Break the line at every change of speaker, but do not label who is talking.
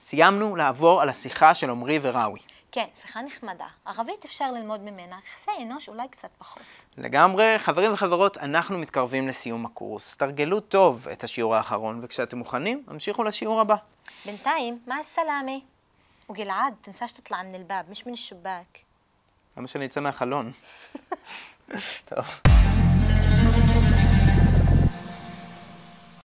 סיימנו לעבור על השיחה של עמרי וראוי.
כן, שיחה נחמדה. ערבית אפשר ללמוד ממנה, יחסי אנוש אולי קצת פחות.
לגמרי, חברים וחברות, אנחנו מתקרבים לסיום הקורס. תרגלו טוב את השיעור האחרון, וכשאתם מוכנים, המשיכו לשיעור הבא.
בינתיים, מה הסלאמה? וגלעד, תנסה שתטלע מן אלבאב, מש מן השבאק.
למה שאני אצא מהחלון? טוב.